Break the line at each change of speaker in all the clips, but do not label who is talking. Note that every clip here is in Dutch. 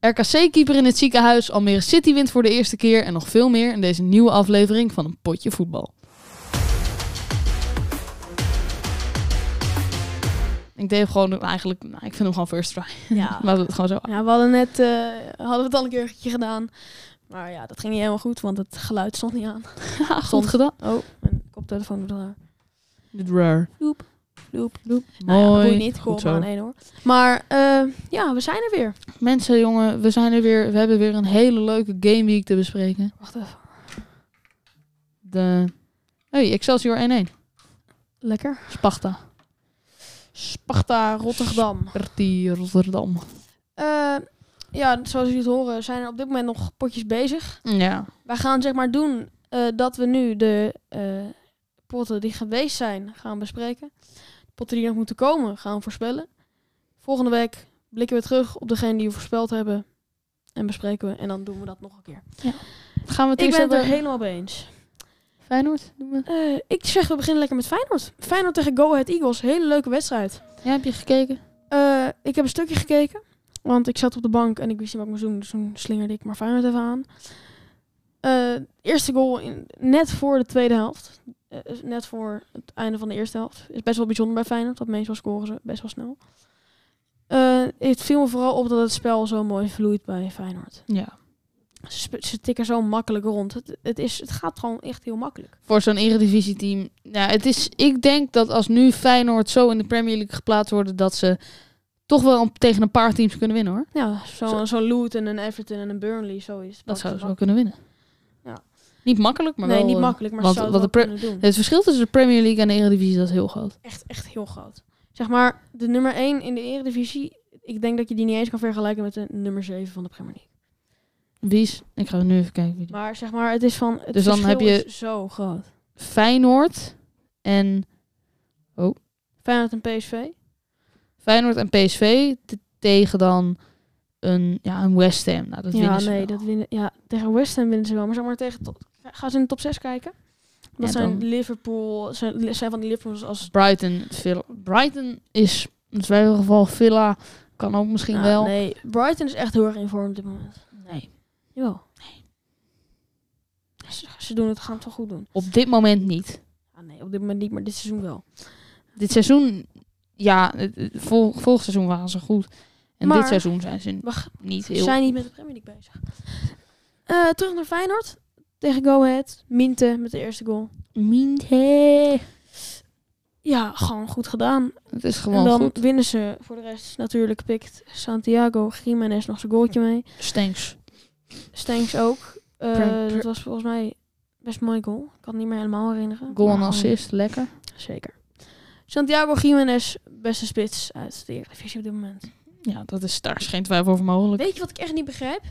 RKC-keeper in het ziekenhuis, Almere City wint voor de eerste keer en nog veel meer in deze nieuwe aflevering van een potje voetbal. Ik deed hem gewoon nou, eigenlijk, nou, ik vind hem gewoon first try.
Ja.
Laten we het gewoon zo.
Ja, we hadden net eh, hadden we het al een keertje gedaan. Maar ja, dat ging niet helemaal goed, want het geluid stond niet aan.
Ja, goed gedaan.
Oh, mijn koptelefoon eh, doet raar.
Dit rare.
Loep, loop.
Doe.
Nou ja, dat
Mooi.
boeit niet,
Goed
kom
zo.
aan één hoor. Maar eh, ja, we zijn er weer.
Mensen, jongen, we zijn er weer. We hebben weer een hele leuke game week te bespreken.
Wacht even.
De hey, Excelsior 1-1.
Lekker.
Sparta.
Sparta Rotterdam.
Sparti Rotterdam.
Eh, ja, zoals jullie het horen, zijn er op dit moment nog potjes bezig.
Ja.
Wij gaan zeg maar doen eh, dat we nu de eh, potten die geweest zijn gaan bespreken. De potten die nog moeten komen gaan we voorspellen. Volgende week blikken we terug op degene die we voorspeld hebben. En bespreken we. En dan doen we dat nog een keer.
Gaan we het
Ik
eerst
ben het er
hebben?
helemaal mee eens.
Feyenoord doen we.
Eh, ik zeg, we beginnen lekker met Feyenoord. Feyenoord tegen Go Ahead Eagles. Hele leuke wedstrijd.
Ja, heb je gekeken?
Eh, ik heb een stukje gekeken. Want ik zat op de bank en ik wist niet wat ik moest doen. Dus toen slingerde ik maar Feyenoord even aan. Eh, eerste goal in, net voor de tweede helft. Eh, net voor het einde van de eerste helft. Is best wel bijzonder bij Feyenoord. Want meestal scoren ze best wel snel. Eh, het viel me vooral op dat het spel zo mooi vloeit bij Feyenoord.
Ja.
Ze, sp- ze tikken zo makkelijk rond. Het, het, is, het gaat gewoon echt heel makkelijk.
Voor zo'n eredivisieteam. Ja, het is, ik denk dat als nu Feyenoord zo in de Premier League geplaatst worden, dat ze toch wel een- tegen een paar teams kunnen winnen hoor.
Ja, zo'n zo.
Zo-
Luton en Everton en een Burnley. Zo Oh, is
Dat zouden ze wel kunnen winnen.
Ja.
Niet makkelijk, maar
Nee,
wel...
niet
eh,
makkelijk. Maar
want-
ze zouden
want
het
de
wel
pre-
kunnen doen.
Het verschil tussen de Premier League en de Eredivisie dat is heel groot.
echt, echt heel groot. Zeg maar, de nummer 1 in de Eredivisie, ik denk dat je die niet eens kan vergelijken met de nummer 7 van de Premier League.
Wie is... Ik ga nu even kijken. Wie die-
Maar zeg maar, het is van. Het
Dus dan
verschil
heb je-
is zo groot.
Feyenoord en
Feyenoord en PSV.
Feyenoord en PSV te- tegen dan een, ja, een West Ham. Nou, dat
ja,
winnen ze
nee,
wel.
dat winnen. Ja, tegen West Ham winnen ze wel. Maar zeg maar, tegen. to- Gaan ze in de top 6 kijken? Dat
Ja,
zijn
dan-
Liverpool. Zijn, zijn van die Liverpools als.
Brighton, Villa. Brighton is in ieder geval Villa. Kan ook misschien
Nou,
wel.
Nee, Brighton is echt heel erg in vorm op dit moment.
Nee.
Jawel. Ze, ze doen het, gaan het wel goed doen.
Op dit moment niet.
Ah, nee, op dit moment niet, maar dit seizoen wel.
Dit seizoen, ja, het- het vol, volgend seizoen waren ze goed. En
Maar-
dit seizoen zijn ze
Wacht,
niet
Ze
heel.
zijn niet met de Premier League bezig. Eh, terug naar Feyenoord. Tegen Go Ahead. Minte met de eerste goal.
Minte.
Ja, gewoon goed gedaan.
Het is
en
gewoon
dan
goed.
winnen ze voor de rest. Natuurlijk pikt Santiago Jiménez nog zijn goaltje mee.
Stanks.
Stenks ook. Eh,
Prem-
dat was volgens mij best een mooi goal. Ik kan het niet meer helemaal herinneren.
Goal
maar
en
gewoon-
assist, lekker.
Zeker. Santiago Jiménez, beste spits uit de Eredivisie op dit moment.
Ja, dat is, daar is geen twijfel over mogelijk.
Weet je wat ik echt niet begrijp?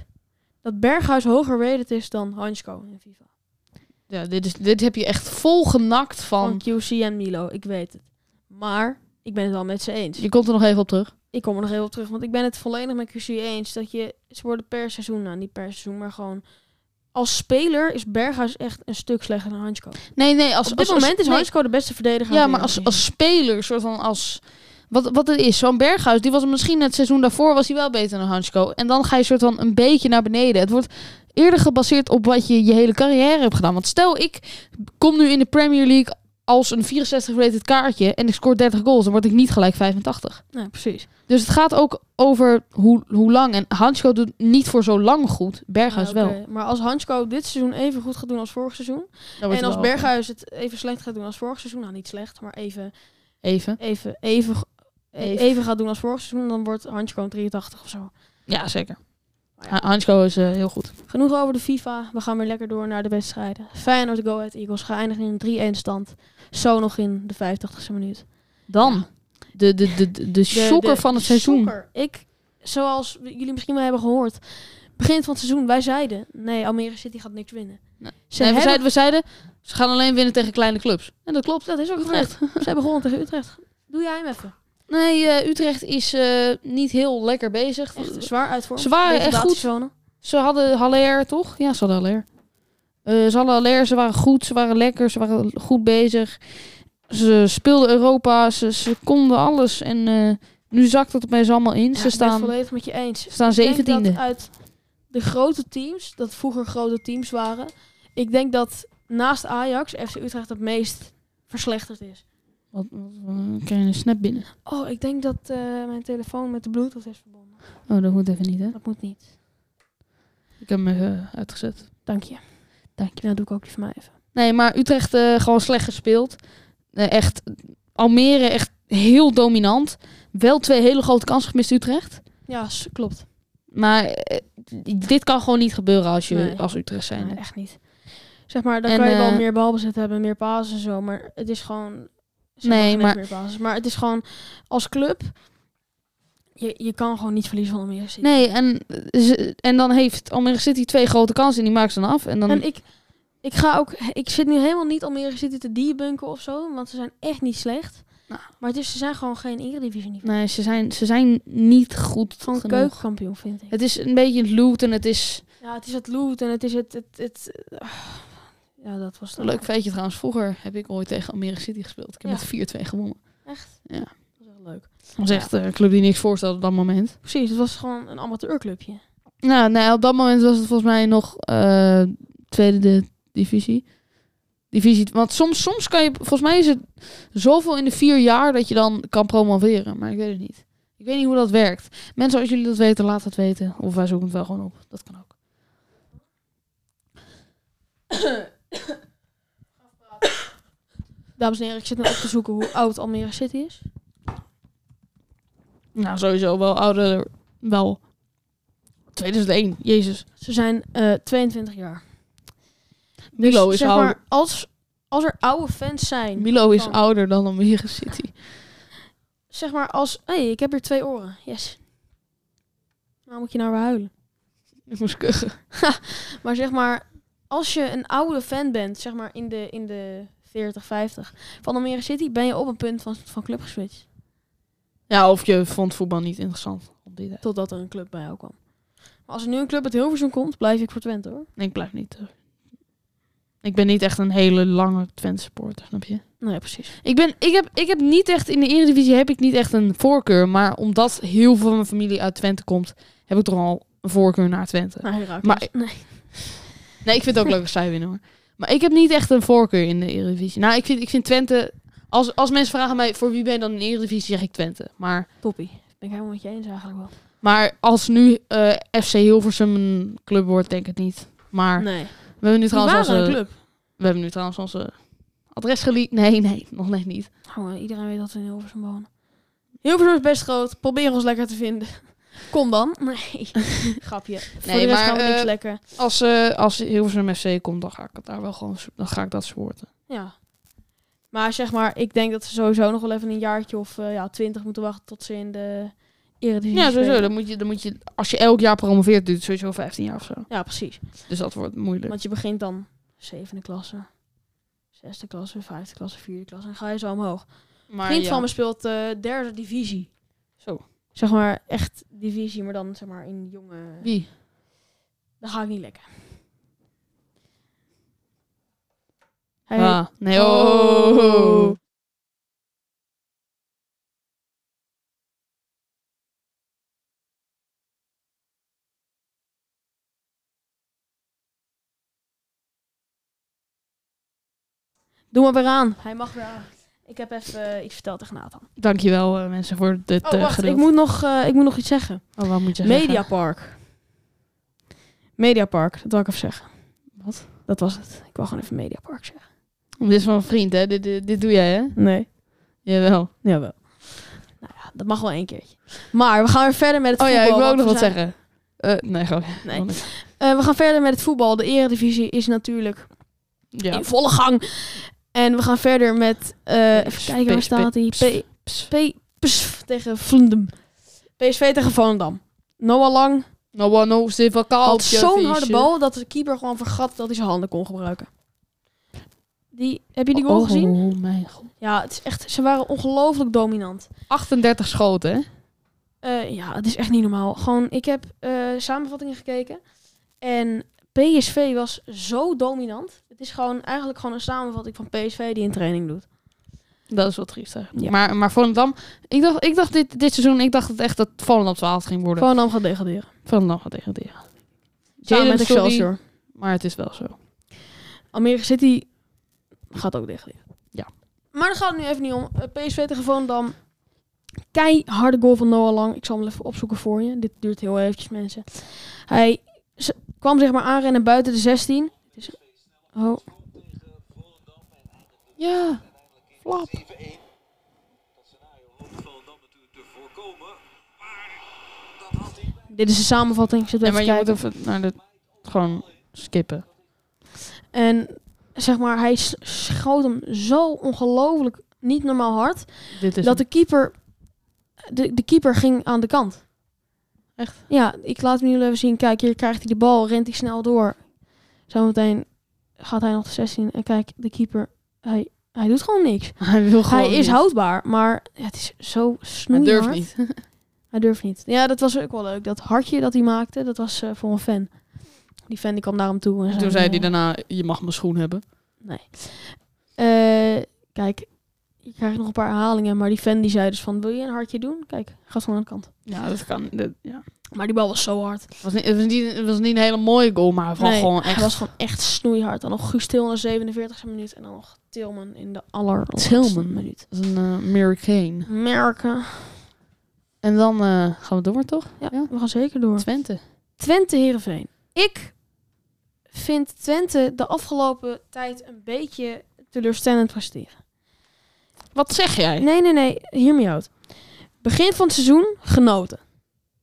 Dat Berghuis hoger rated is dan Hansko in FIFA.
Ja, dit, is, dit heb je echt vol genakt
van
van.
QC en Milo, ik weet het. Maar ik ben het wel met ze eens.
Je komt er nog even op terug.
Ik kom er nog even op terug, want ik ben het volledig met QC eens dat je ze worden per seizoen, nou niet per seizoen, maar gewoon als speler is Berghuis echt een stuk slechter dan Hansko.
Nee, nee, als
Op dit
als- als-
moment is
nee,
Hansko de beste verdediger.
Ja,
in de
maar als, als
Eredivisie.
speler, soort van als. Wat, wat het is, zo'n Berghuis, die was misschien het seizoen daarvoor was hij wel beter dan Hansko. En dan ga je soort van een beetje naar beneden. Het wordt eerder gebaseerd op wat je je hele carrière hebt gedaan. Want stel, ik kom nu in de Premier League als een 64-rated kaartje en ik scoor 30 goals, dan word ik niet gelijk 85.
Nee, precies.
Dus het gaat ook over hoe, hoe lang. En Hansko doet niet voor zo lang goed, Berghuis
Ja,
wel.
Ah, oké. Maar als Hansko dit seizoen even goed gaat doen als vorig seizoen,
Dan wordt
en
hij
als
wel-
Berghuis het even slecht gaat doen als vorig seizoen, nou niet slecht, maar even,
Even.
even, even,
Even.
even, even gaat doen als vorig seizoen, dan wordt Hansko 83 of zo.
Ja, zeker.
Maar Oh ja.
Ha- Hansko is eh, heel goed.
Genoeg over de FIFA. We gaan weer lekker door naar de wedstrijden. Feyenoord Go Ahead Eagles geëindigd in een 3-1 stand. Zo nog in de 50ste minuut.
Dan de, de, de, de, de shocker van het seizoen.
shocker. Ik, zoals we- jullie misschien wel hebben gehoord, begin van het seizoen, wij zeiden, nee, Almere City gaat niks winnen.
Nee.
Ze
Nee, we,
hebben,
zeiden, we zeiden, ze gaan alleen winnen tegen kleine clubs. En dat klopt.
dat is ook
Utrecht.
terecht. Ze hebben gewonnen tegen Utrecht. Doe jij hem even.
Nee, eh, Utrecht is eh, niet heel lekker bezig.
Echt zwaar uitvormen.
Ze waren echt Eh, goed. Ze hadden Haller, toch? Ja, ze hadden Haller. Eh, ze hadden Haller, ze waren goed, ze waren lekker, ze waren goed bezig. Ze speelden Europa, ze, ze konden alles. En eh, Nu zakt het opeens allemaal in.
Ja,
ze
Ik ben het
staan,
volledig met je eens.
ze staan
Ik denk dat
zeventiende.
uit de grote teams, dat vroeger grote teams waren, ik denk dat naast Ajax FC Utrecht het meest verslechterd is.
Wat, wat, wat- krijg je een snap binnen.
Oh, ik denk dat eh, mijn telefoon met de bluetooth is verbonden.
Oh, dat moet even niet, hè?
Dat moet niet.
Ik heb hem even eh, uitgezet.
Dank je.
Dank je.
Nou, doe ik ook die van mij even.
Nee, maar Utrecht eh, gewoon slecht gespeeld. Eh, echt, Almere echt heel dominant. Wel twee hele grote kansen gemist Utrecht.
Ja, s- klopt.
Maar eh, dit kan gewoon niet gebeuren als, je,
Nee.
als Utrecht zijn.
Nee, echt niet. Zeg maar, dan
En,
kan je wel
eh,
meer balbezit hebben, meer pases en zo, maar het is gewoon... ze
Nee,
hebben geen
maar-
Meer basis, maar het is gewoon, als club, je, je kan gewoon niet verliezen van Almere City.
Nee, en, eh, ze- en dan heeft Almere City twee grote kansen en die maakt ze dan af. En dan,
En ik, ik ga ook, ik zit nu helemaal niet Almere City te debunken of zo, want ze zijn echt niet slecht.
Nou.
Maar het is, ze zijn gewoon geen Eredivisie niveau.
nee, ze zijn, ze zijn niet goed
Gewoon
genoeg.
keukenkampioen vind ik.
Het is een beetje het loot en het is...
ja, het is het loot en het is het, het, het ah. ja, dat was het
Leuk feitje trouwens. Vroeger heb ik ooit tegen Almere City gespeeld. Ik heb
Ja.
met 4-2 gewonnen.
Echt?
Ja.
Dat was echt leuk.
Dat was echt eh, een club die niks voorstelde op dat moment.
Precies, het was gewoon een amateurclubje.
Nou, nee, op dat moment was het volgens mij nog eh, tweede de- divisie. Divisie. Want soms, soms kan je, volgens mij is het zoveel in de vier jaar dat je dan kan promoveren. Maar ik weet het niet. Ik weet niet hoe dat werkt. Mensen, als jullie dat weten, laat het weten. Of wij zoeken het wel gewoon op. Dat kan ook.
Dames en heren, ik zit nu op te zoeken hoe oud Almere City is.
Nou, sowieso wel ouder. Wel. 2001, jezus.
Ze zijn eh, 22 jaar. Dus
Milo is
zeg
ouder.
maar, als, als er oude fans zijn,
Milo is
Oh.
ouder dan Almere City.
zeg maar als... Hé, hey, ik heb hier twee oren. Yes. Nou moet je nou weer huilen.
Ik moest kuchen.
Maar zeg maar, als je een oude fan bent, zeg maar in de, in de 40, 50 van Almere City, ben je op een punt van, van club geswitcht.
Ja, of je vond voetbal niet interessant. Op die tijd.
Totdat er een club bij jou kwam. Maar als er nu een club uit Hilversum komt, blijf ik voor Twente hoor.
Nee, ik blijf niet. terug. Ik ben niet echt een hele lange Twente supporter, snap je?
Nou ja, precies.
Ik, ben, ik, heb, ik heb niet echt, in de Eredivisie heb ik niet echt een voorkeur. Maar omdat heel veel van mijn familie uit Twente komt, heb ik toch al een voorkeur naar Twente.
Nou, Herakles.
Maar-
nee.
Nee, ik vind het ook leuk als zij winnen hoor. Maar ik heb niet echt een voorkeur in de Eredivisie. Nou, ik vind, ik vind Twente... Als, als mensen vragen mij, voor wie ben je dan in de Eredivisie, zeg ik Twente. Maar,
Toppie. Ben ik helemaal met je eens eigenlijk wel.
maar als nu eh, FC Hilversum een club wordt, denk ik het niet. Maar
Nee.
we hebben nu
Die
trouwens eh,
waren een
onze-
club.
We hebben nu trouwens onze adres geleakt. Nee, nee, nog net niet.
Nou, eh, iedereen weet dat we in Hilversum wonen. Hilversum is best groot. Probeer ons lekker te vinden. Kom dan. Nee. Grapje. Voor
Nee,
de rest
maar,
gaan we niks
eh,
lekker.
Als, eh als Hilversum FC komt, dan ga ik het daar wel gewoon dan ga ik dat supporten.
Ja. Maar zeg maar, ik denk dat ze sowieso nog wel even een jaartje of eh, ja, twintig moeten wachten tot ze in de Eredivisie
Ja, sowieso.
spelen.
Dan moet je, dan moet je, als je elk jaar promoveert, duurt het sowieso 15 jaar of zo.
Ja, precies.
Dus dat wordt moeilijk.
Want je begint dan zevende klasse, zesde klasse, vijfde klasse, vierde klasse. En dan ga je zo omhoog.
Maar
Een vriend
ja.
van me speelt eh derde divisie.
Zo.
Zeg maar echt divisie, maar dan zeg maar in jonge...
Wie?
Dan ga ik niet lekker. Hij heet-
Ah, nee. Oh.
Doe maar weer aan. Hij mag weer aan. Ik heb even eh, iets verteld tegen Nathan.
Dankjewel eh, mensen voor dit
Oh,
eh,
wacht. Ik
geduld.
moet, nog, eh, ik moet nog iets zeggen.
Oh, wat moet je zeggen?
Mediapark. Mediapark, dat wil ik even zeggen.
Wat?
Dat was het. Ik wil gewoon even Mediapark zeggen.
Dit is van een vriend, hè? Dit, dit, dit doe jij, hè?
Nee.
Jawel.
Jawel. Nou ja, dat mag wel één keertje. Maar we gaan weer verder met het
Oh ja,
voetbal.
ik wil ook
want
nog
we
wat
zijn-
zeggen. Eh, nee, gewoon.
Nee. Eh, we gaan verder met het voetbal. De eredivisie is natuurlijk
Ja.
in volle gang. En we gaan verder met... eh, even
Sp-
kijken, waar
sp-
staat die?
sp-
P- P- PSV tegen Vlendem. PSV tegen Volendam. Noah Lang
Nou, wat nou, zit wel koud.
had zo'n harde bal dat de keeper gewoon vergat dat hij zijn handen kon gebruiken. Die, heb je die goal gezien?
Oh, mijn god.
Ja, het is echt, ze waren ongelooflijk dominant.
38 schoten, hè?
Eh, ja, het is echt niet normaal. Gewoon, ik heb eh, samenvattingen gekeken. En PSV was zo dominant. Het is gewoon eigenlijk gewoon een samenvatting van PSV die in training doet.
Dat is wel triest. eigenlijk.
Ja.
Maar, maar Volendam... Ik dacht, ik dacht dit, dit seizoen ik dacht dat echt dat Volendam 12 ging worden.
Volendam gaat degraderen.
Volendam gaat degraderen.
Samen
Jalen,
met
sorry,
Excelsior.
Maar het is wel zo.
Almere City gaat ook degraderen.
Ja.
Maar daar gaat het nu even niet om. Eh, PSV tegen Volendam. Keiharde goal van Noah Lang. Ik zal hem even opzoeken voor je. Dit duurt heel eventjes, mensen. Hij z- kwam zeg maar aanrennen buiten de 16. Dus- oh.
Ja. Flap.
Dit is de samenvatting. Ik Zit
Nee,
even
maar
te
je
kijken.
moet even naar de... Gewoon skippen.
En zeg maar, hij s- schoot hem zo ongelooflijk niet normaal hard.
Dit is
dat de keeper. De, de keeper ging aan de kant.
Echt?
Ja, ik laat hem jullie even zien. Kijk, hier krijgt hij de bal, rent hij snel door. Zometeen gaat hij nog de 16. En kijk, de keeper, hij, hij doet gewoon niks.
hem. Hij wil gewoon
hij is
niet.
houdbaar, maar het is zo
Hij
snoeihard.
durft niet.
Hij durft niet. Ja, dat was ook wel leuk. Dat hartje dat hij maakte, dat was eh, voor een fan. Die fan die kwam naar hem toe. En
En toen zei hij
eh,
daarna, je mag mijn schoen hebben.
Eh, kijk, je krijgt nog een paar herhalingen. Maar die fan die zei dus van, wil je een hartje doen? Kijk, gaat gewoon aan de kant.
Ja, dat kan. Dat, ja.
Maar die bal was zo hard.
Het was, niet, het, was niet, het was niet een hele mooie goal, maar wel
Nee,
gewoon
Het
echt...
was gewoon echt snoeihard. Dan nog Guus Til in de 47e minuut. En dan nog Tilman in de allerlaatste
Tilman.
minuut.
Dat is een eh, Hurricane.
Merken.
En dan eh, gaan we door, toch?
Ja,
Ja.
we gaan zeker door.
Twente.
Twente Heerenveen. Ik vind Twente de afgelopen tijd een beetje teleurstellend presteren.
Wat zeg jij?
Nee, nee, nee. Hear me out. Begin van het seizoen genoten.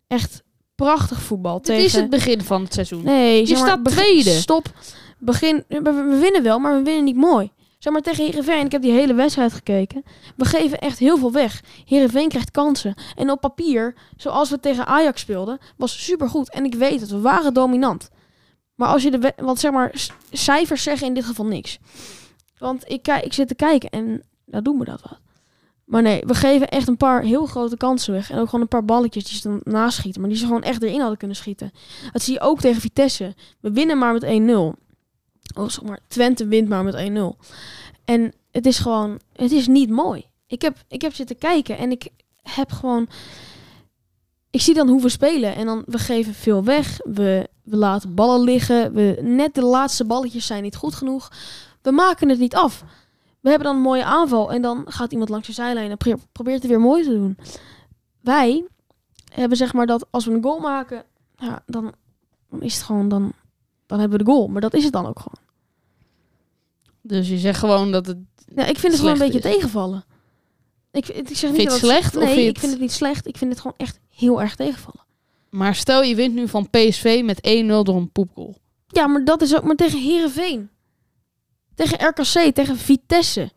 Echt prachtig voetbal.
Dit
tegen...
is het begin van het seizoen.
Nee,
Je
zeg maar,
staat
begin-
tweede.
Stop. Begin, we, we winnen wel, maar we winnen niet mooi. Zeg maar tegen Heerenveen, ik heb die hele wedstrijd gekeken. We geven echt heel veel weg. Heerenveen krijgt kansen. En op papier, zoals we tegen Ajax speelden, was supergoed. En ik weet het, we waren dominant. Maar als je de we- want zeg maar, s- cijfers zeggen in dit geval niks. Want ik, kijk- ik zit te kijken en nou doen we dat wat. Maar nee, we geven echt een paar heel grote kansen weg. En ook gewoon een paar balletjes die ze dan naschieten. Maar die ze gewoon echt erin hadden kunnen schieten. Dat zie je ook tegen Vitesse. We winnen maar met 1-0. Oh, zeg maar, Twente wint maar met 1-0. En het is gewoon, het is niet mooi. Ik heb, ik heb zitten kijken en ik heb gewoon... Ik zie dan hoe we spelen en dan we geven veel weg. We, we laten ballen liggen. We, net de laatste balletjes zijn niet goed genoeg. We maken het niet af. We hebben dan een mooie aanval en dan gaat iemand langs de zijlijn en pre- probeert het weer mooi te doen. Wij hebben zeg maar dat als we een goal maken, ja, dan dan is het gewoon, dan, dan hebben we de goal. Maar dat is het dan ook gewoon.
Dus je zegt gewoon dat het...
Ja, ik vind het gewoon een
Slecht
beetje tegenvallen. Ik, ik zeg
je
niet
het
dat
slecht of
Nee,
vind je
ik
het-
vind het niet slecht. Ik vind het gewoon echt heel erg tegenvallen.
Maar stel je wint nu van PSV met 1-0 door een poepgoal.
Ja, maar dat is ook maar tegen Herenveen. Tegen RKC, tegen Vitesse.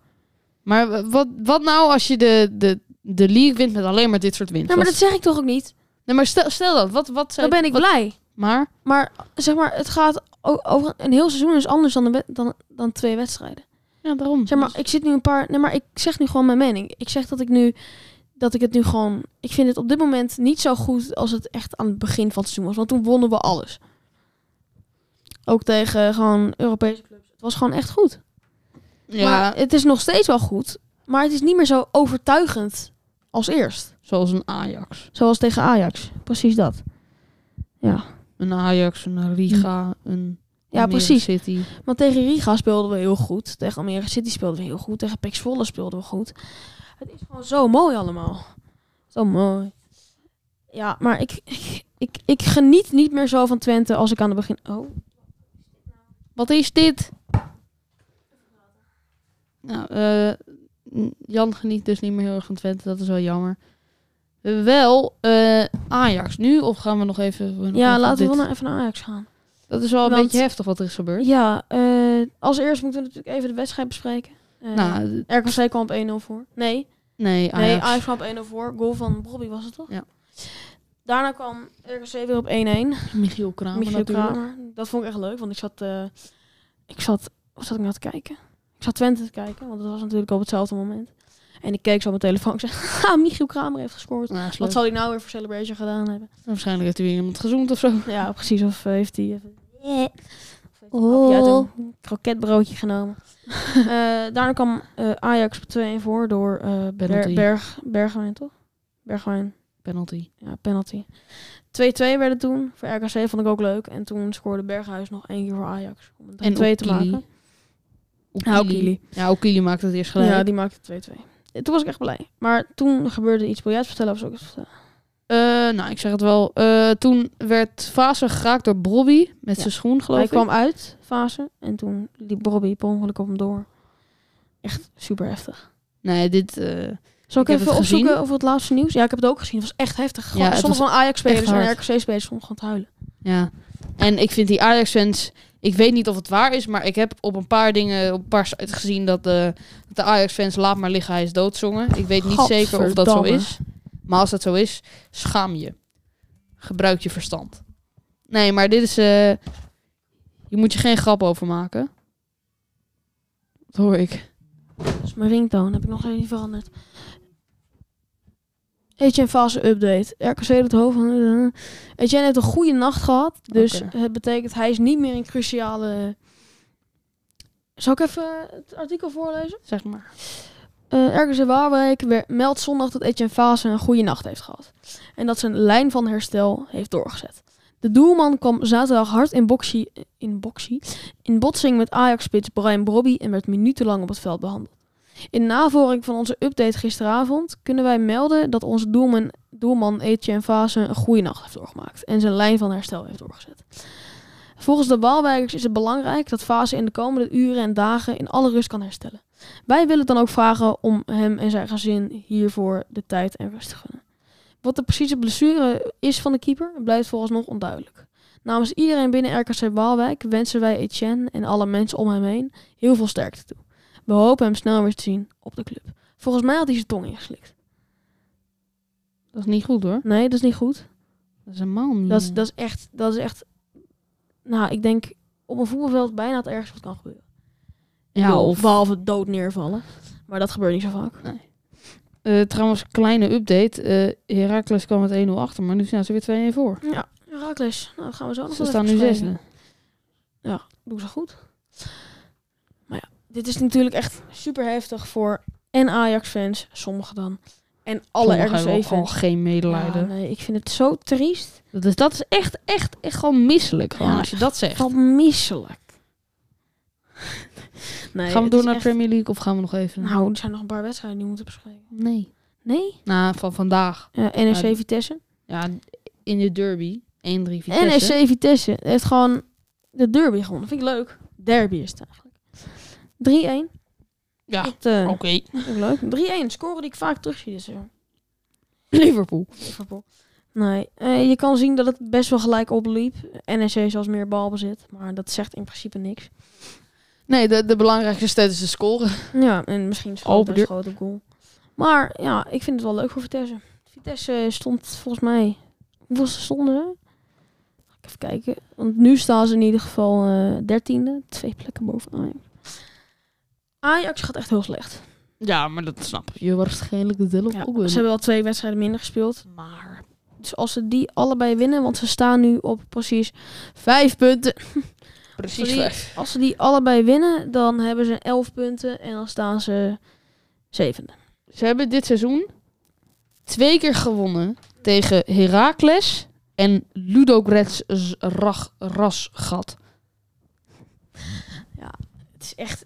Maar w- wat, wat nou als je de, de, de league wint met alleen maar dit soort winst?
Nou, maar dat zeg ik toch ook niet?
nee, maar stel, stel dat. Wat, wat
Dan
zou...
ben ik blij.
Maar
Maar zeg maar, het gaat o- over een heel seizoen is anders dan, de wed- dan, dan twee wedstrijden.
Ja, daarom.
Zeg maar, ik zit nu een paar. Nee, maar ik zeg nu gewoon mijn mening. Ik zeg dat ik nu. Dat ik het nu gewoon. Ik vind het op dit moment niet zo goed als het echt aan het begin van het seizoen was. Want toen wonnen we alles. Ook tegen gewoon Europese clubs. Het was gewoon echt goed.
ja,
Maar het is nog steeds wel goed. Maar het is niet meer zo overtuigend als eerst.
zoals een Ajax.
Zoals tegen Ajax. Precies dat.
Een Ajax, een Riga, een...
Ja,
Almere
precies.
City.
Want tegen Riga speelden we heel goed. Tegen Almere City speelden we heel goed. Tegen Pek Zwolle speelden we goed. Het is gewoon zo mooi allemaal. Zo mooi. Ja, maar ik, ik, ik, ik geniet niet meer zo van Twente als ik aan het begin... Oh,
Wat is dit? Nou, eh, Jan geniet dus niet meer heel erg van Twente. Dat is wel jammer. Eh, Wel, eh, Ajax nu? Of gaan we nog even... nog
ja,
even
laten we
dit-
wel naar, even naar Ajax gaan.
Dat is wel een
want-
beetje heftig wat er is gebeurd.
Ja, eh, als eerst moeten we natuurlijk even de wedstrijd bespreken. Eh
Nou, d-
RKC kwam op 1-0 voor. Nee,
nee, Ajax.
nee Ajax kwam op 1-0 voor. Goal van Bobby was het toch?
Ja.
Daarna kwam RKC weer op 1-1.
Michiel Kramer
Michiel
natuurlijk.
Kramer. Dat vond ik echt leuk, want ik zat, eh, ik zat, wat zat ik nou te kijken? Ik zat Twente te kijken, want dat was natuurlijk op hetzelfde moment. En ik keek zo op mijn telefoon en zei, ha, Michiel Kramer heeft gescoord.
Nou, is
Wat
leuk.
zal hij nou weer voor Celebration gedaan hebben?
Waarschijnlijk heeft hij weer iemand gezoend of zo.
Ja, precies. Of eh, heeft hij even... Of heeft Heb jij
Oh.
toen een kroketbroodje genomen. Eh, daarna kwam eh, Ajax op 2-1 voor door eh Ber
Penalty.
Berg Bergwijn, toch? Bergwijn,
Penalty.
ja, penalty. 2-2 werden toen. Voor RKC vond ik ook leuk. En toen scoorde Berghuis nog één keer voor Ajax. Om het 3-2 te
Oekili.
maken.
Oekili. Ja, Okili maakt het eerst gelijk.
Ja, die maakte 2-2. Eh, Toen was ik echt blij. Maar toen gebeurde iets. Wil jij het vertellen of zo? vertellen?
Eh, nou, ik zeg het wel. Eh, toen werd Vaser geraakt door Bobby met
Ja.
zijn schoen, geloof
Hij
ik.
kwam uit, fase. En toen liep Bobby per ongeluk op hem door. Echt super heftig.
Nee, dit... eh,
Zal
Ik heb
ik, even
het gezien.
opzoeken over het laatste nieuws? Ja, ik heb het ook gezien. Het was echt heftig. Gewoon,
Ja, het
sommige van Ajax-spelers
echt
en
hard.
RKC-spelers stonden gewoon te huilen.
ja. En ik vind die Ajax-fans... Ik weet niet of het waar is, maar ik heb op een paar dingen... Op een paar sites gezien dat de, dat de Ajax-fans... Laat maar liggen, hij is dood zongen. Ik weet niet zeker of dat zo
Gadverdamme.
is. Maar als dat zo is, schaam je. Gebruik je verstand. Nee, maar dit is... eh, je moet je geen grap over maken. Dat hoor ik.
Dat is mijn ringtoon. Heb ik nog steeds niet veranderd. Etienne fase update. RKC doet hoofd van... Etienne heeft een goede nacht gehad. Dus
Oké.
het betekent hij is niet meer in cruciale... Zal ik even het artikel voorlezen?
Zeg maar.
Eh RKC Waalwijk wer- meldt zondag dat Etienne Fase een goede nacht heeft gehad. En dat zijn lijn van herstel heeft doorgezet. De doelman kwam zaterdag hard in, boxie, in, boxie, in botsing met Ajax-spits Brian Brobby en werd minutenlang op het veld behandeld. In navolging van onze update gisteravond kunnen wij melden dat onze doelman, doelman Etienne Fase een goede nacht heeft doorgemaakt. En zijn lijn van herstel heeft doorgezet. Volgens de Waalwijkers is het belangrijk dat Fase in de komende uren en dagen in alle rust kan herstellen. Wij willen dan ook vragen om hem en zijn gezin hiervoor de tijd en rust te gunnen. Wat de precieze blessure is van de keeper blijft vooralsnog onduidelijk. Namens iedereen binnen RKC Waalwijk wensen wij Etienne en alle mensen om hem heen heel veel sterkte toe. We hopen hem snel weer te zien op de club. Volgens mij had hij zijn tong ingeslikt.
Dat is niet goed hoor.
Nee, dat is niet goed.
Dat is helemaal niet.
Dat, is, dat is echt, dat is echt, nou ik denk op een voetbalveld bijna het ergste wat kan gebeuren. Ik
ja,
bedoel,
of
Behalve dood neervallen. Maar dat gebeurt niet zo vaak.
eh, trouwens, kleine update. eh Herakles kwam met 1-0 achter, maar nu staan ze weer 2-1 voor.
Ja, Herakles. Nou, dat gaan we zo nog
Ze
wel
staan
even
nu
bespreken.
zesde.
Doe ze goed. Maar ja, dit is natuurlijk echt super heftig voor en Ajax-fans, sommigen dan. En alle
Sommigen hebben ook al
RKC-fans.
geen medelijden.
nee, ik vind het zo triest.
dat, is, dat is echt, echt, echt gewoon misselijk. Gewoon,
Ja,
als je dat zegt.
Wat misselijk. nee,
gaan we
het
door
is
naar
echt-
Premier League of gaan we nog even?
Nou, er zijn nog een paar wedstrijden die we moeten bespreken.
nee.
Nee? Nou,
Nou, van vandaag.
Ja, NEC
Ja,
Vitesse.
Ja, in de derby. 1-3 Vitesse.
NEC E Vitesse heeft gewoon de derby gewonnen. Vind ik leuk. Derby is het eigenlijk. 3-1.
Ja,
Dat, eh,
oké.
vind ik leuk. 3-1. Scoren die ik vaak terug zie dit seizoen.
Liverpool.
Liverpool. Nee, eh, je kan zien dat het best wel gelijk opliep. NEC zelfs meer balbezit, maar dat zegt in principe niks.
Nee, de, de belangrijkste stad is de scoren.
Ja, en misschien
Open
schoot
deur.
een grote goal. Maar ja, ik vind het wel leuk voor Vitesse. Vitesse stond volgens mij... Hoeveel ze stonden ze? Ga ik Even kijken. Want nu staan ze in ieder geval eh, dertiende. twee plekken boven Ajax. Ajax gaat echt heel slecht.
Ja, maar dat snap ik. Je waarschijnlijk de deel op
Ja,
ook
ze
wel.
hebben wel twee wedstrijden minder gespeeld.
Maar...
Dus als ze die allebei winnen, want ze staan nu op precies vijf punten.
Precies
Sorry.
vijf.
Als ze die allebei winnen, dan hebben ze 11 punten en dan staan ze zevende.
Ze hebben dit seizoen twee keer gewonnen tegen Heracles en Ludogorets Rag- Rasgat.
Het is echt.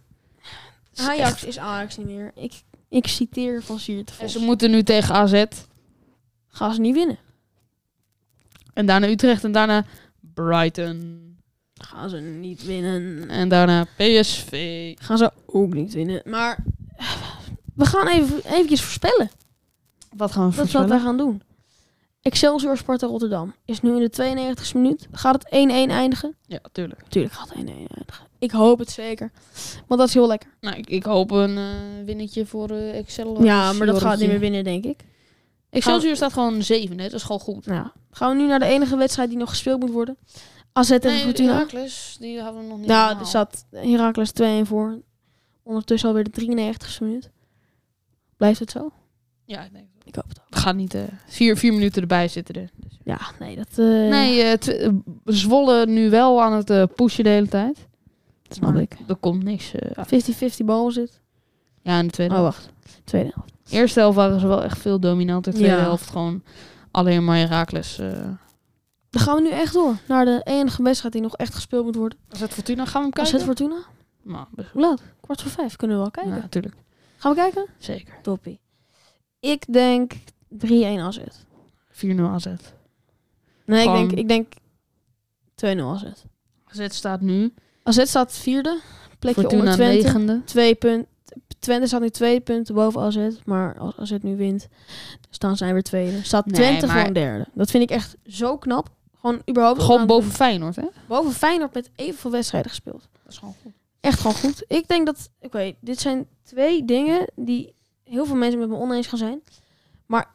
Het is
Ajax
echt-
is Ajax niet meer. Ik, ik citeer van Siert
En
Vos.
ze moeten nu tegen AZ
Gaan ze niet winnen?
en daarna Utrecht en daarna Brighton
Gaan ze niet winnen? Eh,
en daarna PSV.
Gaan ze ook niet winnen? Maar we gaan even eventjes voorspellen.
Wat gaan we
Dat is wat wij gaan doen. Excelsior Sparta Rotterdam is nu in de 92e minuut. Gaat het 1-1 eindigen?
Ja, tuurlijk.
Tuurlijk gaat het 1-1 eindigen. Ik hoop het zeker. Want dat is heel lekker.
Nou, ik, ik hoop een eh, winnetje voor eh Excel.
Ja, maar dat gaat niet meer winnen, denk ik.
Excelsior staat gewoon zevende, dat is gewoon goed.
Nou, gaan we nu naar de enige wedstrijd die nog gespeeld moet worden. AZ tegen
Nee,
Fortuna.
Heracles, die hadden we nog niet
Nou,
helemaal.
er zat Heracles 2-1 voor. Ondertussen alweer de 93ste minuut. Blijft het zo?
Ja, ik denk het wel.
Ik hoop het ook.
We gaan niet eh, vier, vier minuten erbij zitten er. Dus-
Ja, nee, dat...
eh, Nee, eh, tw- eh, Zwolle nu wel aan het eh, pushen de hele tijd. dat snap
Maar
ik. Er komt niks eh, uit.
50-50 bal zit.
Ja, in de tweede
Oh,
helft.
wacht. Tweede helft.
Eerste helft waren ze wel echt veel dominanter. Tweede
Ja.
helft gewoon alleen maar Herakles. eh
Dan gaan we nu echt door naar de enige wedstrijd die nog echt gespeeld moet worden.
Als het Fortuna gaan we hem
Als
kijken?
het Fortuna?
Nou, best
Hoe laat? Kwart voor vijf kunnen we wel kijken.
Ja, natuurlijk.
Gaan we kijken?
Zeker.
Toppie. Ik denk 3-1 AZ.
4-0 AZ.
Nee,
Gewoon-
ik denk, ik denk 2-0 AZ.
AZ staat nu.
AZ staat vierde. Plekje onder
Fortuna
Twente.
negende.
Twee punt, Twente staat nu twee punten boven AZ. Maar als AZ nu wint, dus staan zij weer tweede. Staat
Nee,
Twente
maar-
gewoon derde. Dat vind ik echt zo knap. Gewoon überhaupt.
Gewoon
aan-
boven Feyenoord, hè?
boven Feyenoord met evenveel wedstrijden gespeeld.
Dat is gewoon goed.
Echt gewoon goed. Ik denk dat... Oké, dit zijn twee dingen die heel veel mensen met me oneens gaan zijn. Maar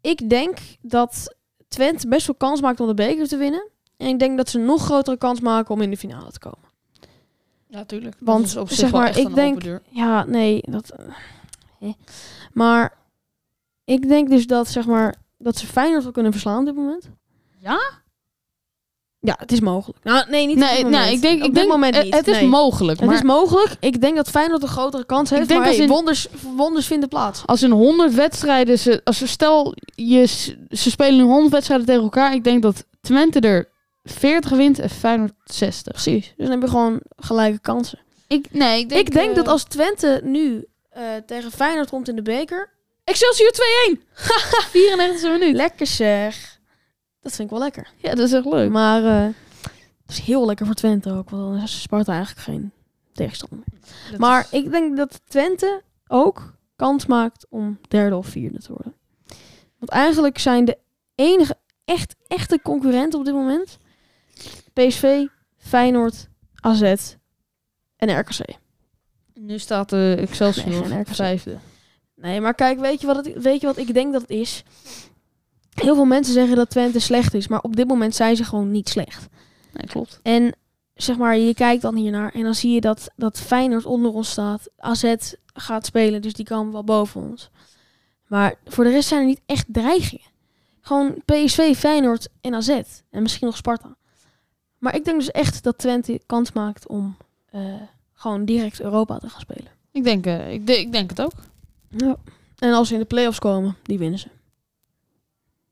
ik denk dat Twente best wel kans maakt om de beker te winnen. En ik denk dat ze een nog grotere kans maken om in de finale te komen.
Ja, tuurlijk.
Want, zeg maar, ik denk- Ja, nee, dat... eh, hè. Maar ik denk dus dat, zeg maar, dat ze Feyenoord wel kunnen verslaan op dit moment.
Ja?
Ja, het is mogelijk. Nou, nee, niet op
Nee,
dit
nou,
moment.
ik denk,
Op
ik
dit
denk
moment
eh,
niet.
het is
nee.
mogelijk.
Het
maar
is mogelijk. Ik denk dat Feyenoord een grotere kans heeft.
denk
maar
als
hey,
in-
wonders, wonders vinden plaats.
als in 100 wedstrijden, ze, als ze stel je, s- ze spelen nu 100 wedstrijden tegen elkaar, ik denk dat Twente er 40 wint en Feyenoord 60.
Precies. Dus dan heb je gewoon gelijke kansen.
Ik, nee, ik denk,
ik denk
eh,
dat als Twente nu eh, tegen Feyenoord komt in de beker... Excelsior 2-1!
94 minuten.
Lekker zeg. Dat vind ik wel lekker.
Ja, dat is echt leuk.
Maar eh, het is heel lekker voor Twente ook. Want dan is Sparta eigenlijk geen tegenstander meer. Maar ik denk dat Twente ook kans maakt om derde of vierde te worden. Want eigenlijk zijn de enige echt, echte concurrenten op dit moment... PSV, Feyenoord, AZ en RKC.
nu staat de
Nee,
Excelsior
geen RKC.
vijfde.
Nee, maar kijk, weet je, wat het, weet je wat ik denk dat het is? Heel veel mensen zeggen dat Twente slecht is, maar op dit moment zijn ze gewoon niet slecht.
Nee, klopt.
En zeg maar, je kijkt dan hiernaar en dan zie je dat, dat Feyenoord onder ons staat. AZ gaat spelen, dus die komen wel boven ons. Maar voor de rest zijn er niet echt dreigingen. Gewoon PSV, Feyenoord en AZ. En misschien nog Sparta. Maar ik denk dus echt dat Twente kans maakt om eh, gewoon direct Europa te gaan spelen.
Ik denk, eh, ik, de- ik denk het ook.
Ja. En als ze in de play-offs komen, die winnen ze.